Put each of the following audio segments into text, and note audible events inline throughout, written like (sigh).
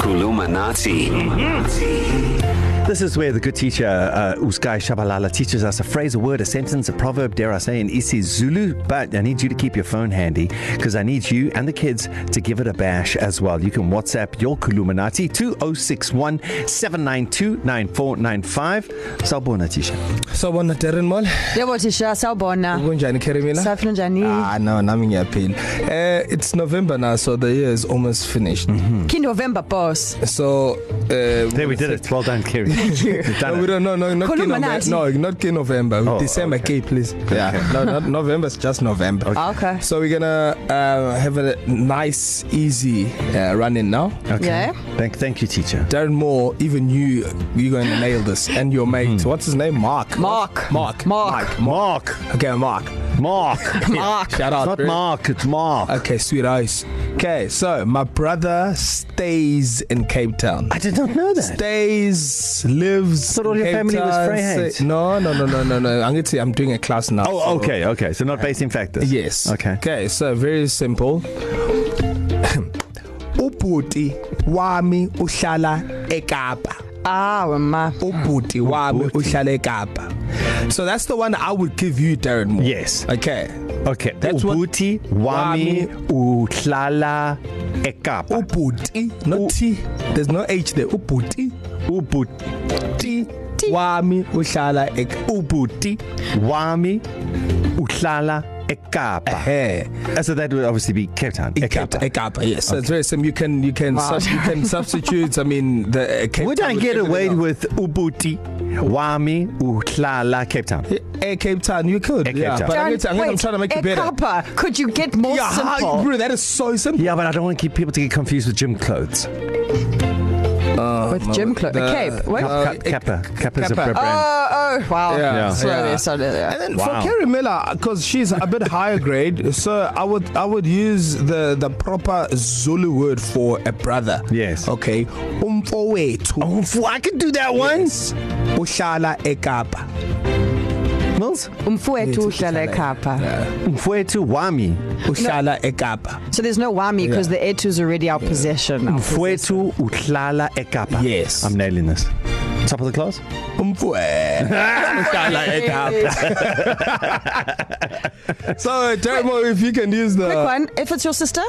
Kulumanati. This is where the good teacher, uh, Usgai Shabalala, teaches us a phrase, a word, a sentence, a proverb, dare I say, in isiZulu. But I need you to keep your phone handy because I need you and the kids to give it a bash as well. You can WhatsApp your oh Kuluminati 2061 792 9495. Sawubona teacher. sawubona Darren Mall Yebo thisha sawubona. kunjani Kerimila Saphila njani? ah no nami ngiyaphila eh it's November now so the year is almost finished mm -hmm. Ki November boss. (laughs) so uh, There we did it. Well done, Kerry. (laughs) Thank you. You've No, done we it. don't know. No, not Kulumanati. November. No, not K November. Oh, Oh, December okay. okay. K, please. Yeah. Okay. No, not November's just November. Ah, Okay. So we're gonna uh, have a nice, easy uh, run in now. Okay. Yeah. Thank, thank you, teacher. Darren Moore, even you, you're going to nail this. And your mate, mm-hmm. what's his name? Mark. Mark. Mark. Mark. Mark. Okay, Mark. Mark. Mark. Shout out. (laughs) It's not bro. Mark, it's Mark. Okay, sweet ice. Okay, so my brother stays in Cape Town. I did not know that. Stays, lives. thought all your Cape family was Town, Vryheid. say- No, no, no, no, no, no. I'm going to say I'm doing a class now. Oh, okay, okay. So not based in factors. Yes. Okay. Okay, so very simple. (coughs) Ubhuti wami uhlala eKapa. Ah, ma. (gasps) Ubhuti wami Ubhuti. uhlala eKapa. So that's the one I would give you Darren Moore. Yes. Okay. Okay. That's what- Ubuti wami uhlala eKapa. Ubhuti not U- T. There's no H there. Ubhuti Ubuti ti wami uhlala ek ubuti wami uhlala eKapa. Hey, Eh, So that would obviously be Cape Town. eKapa. Ekapa, yes. Okay. So it's very simple. You can you can wow. sub, you (laughs) can substitute. I mean, the uh, Cape Would I Town get figure it away out. with ubuti wami uhlala Cape Town? Air Eh, Cape Town, you could. Air Cape yeah, Town. but I'm, gonna, I'm, gonna, I'm trying to make you better. Ekapa. Could you get more Yeah, yeah, how, simple? bro, that is so simple. Yeah, but I don't want to keep people to get confused with gym clothes. With gym clothes. The cape. What? Uh, uh, Cap- Kappa. Kappa's a Kappa. brand. oh, oh, wow. Yeah. Yeah. So Yeah. yeah. So And there. then Wow. wow. for Kerry Miller, because she's a bit higher grade, so I would I would use the the proper Zulu word for a brother. Yes. Okay. Umfowethu. Oh, I could do that once. Uhlala eKapa. Mills? Umfowethu uhlala eKapa. Mfwetu wami. Uhlala eKapa. So there's no wami because yeah. Yeah. the etu is already our yeah. possession. Our possession. Mfwetu uhlala eKapa. Yes. I'm nailing this. Top of the class? (laughs) Umfowethu. So, Jeremy, if you can use the Quick one. If it's your sister,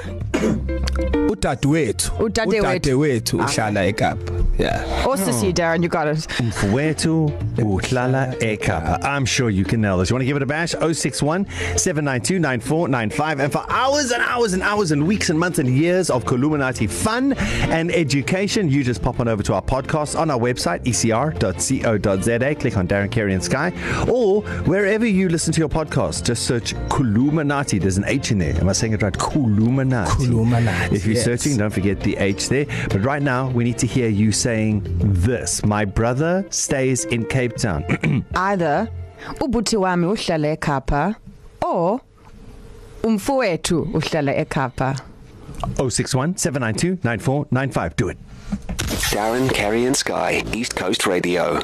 udadewethu Udadewethu. udadewethu uhlala eKapa. Yeah. or sissy, Darren, you got it. Mfwetu uhlala eKapa. I'm sure you can nail this. You want to give it a bash? 061 792 9495. And for hours and hours and hours and weeks and months and years of Columinati fun and education, you just pop on over to our podcast on our website, E ecr.co.za. Click on Darren Carey and Sky. Or wherever you listen to your podcast, just search Columinati. There's an H in there. Am I saying it right? Columinati. Kulumanati, If you're yes. yes. searching, don't forget the H there. But right now, we need to hear you saying this My brother stays in Cape Town. (clears throat) Either ubuthi wami uhlala eKapa or umfowethu uhlala eKapa. 061 792 9495. Do it. Darren, Kerry, and Sky, East Coast Radio.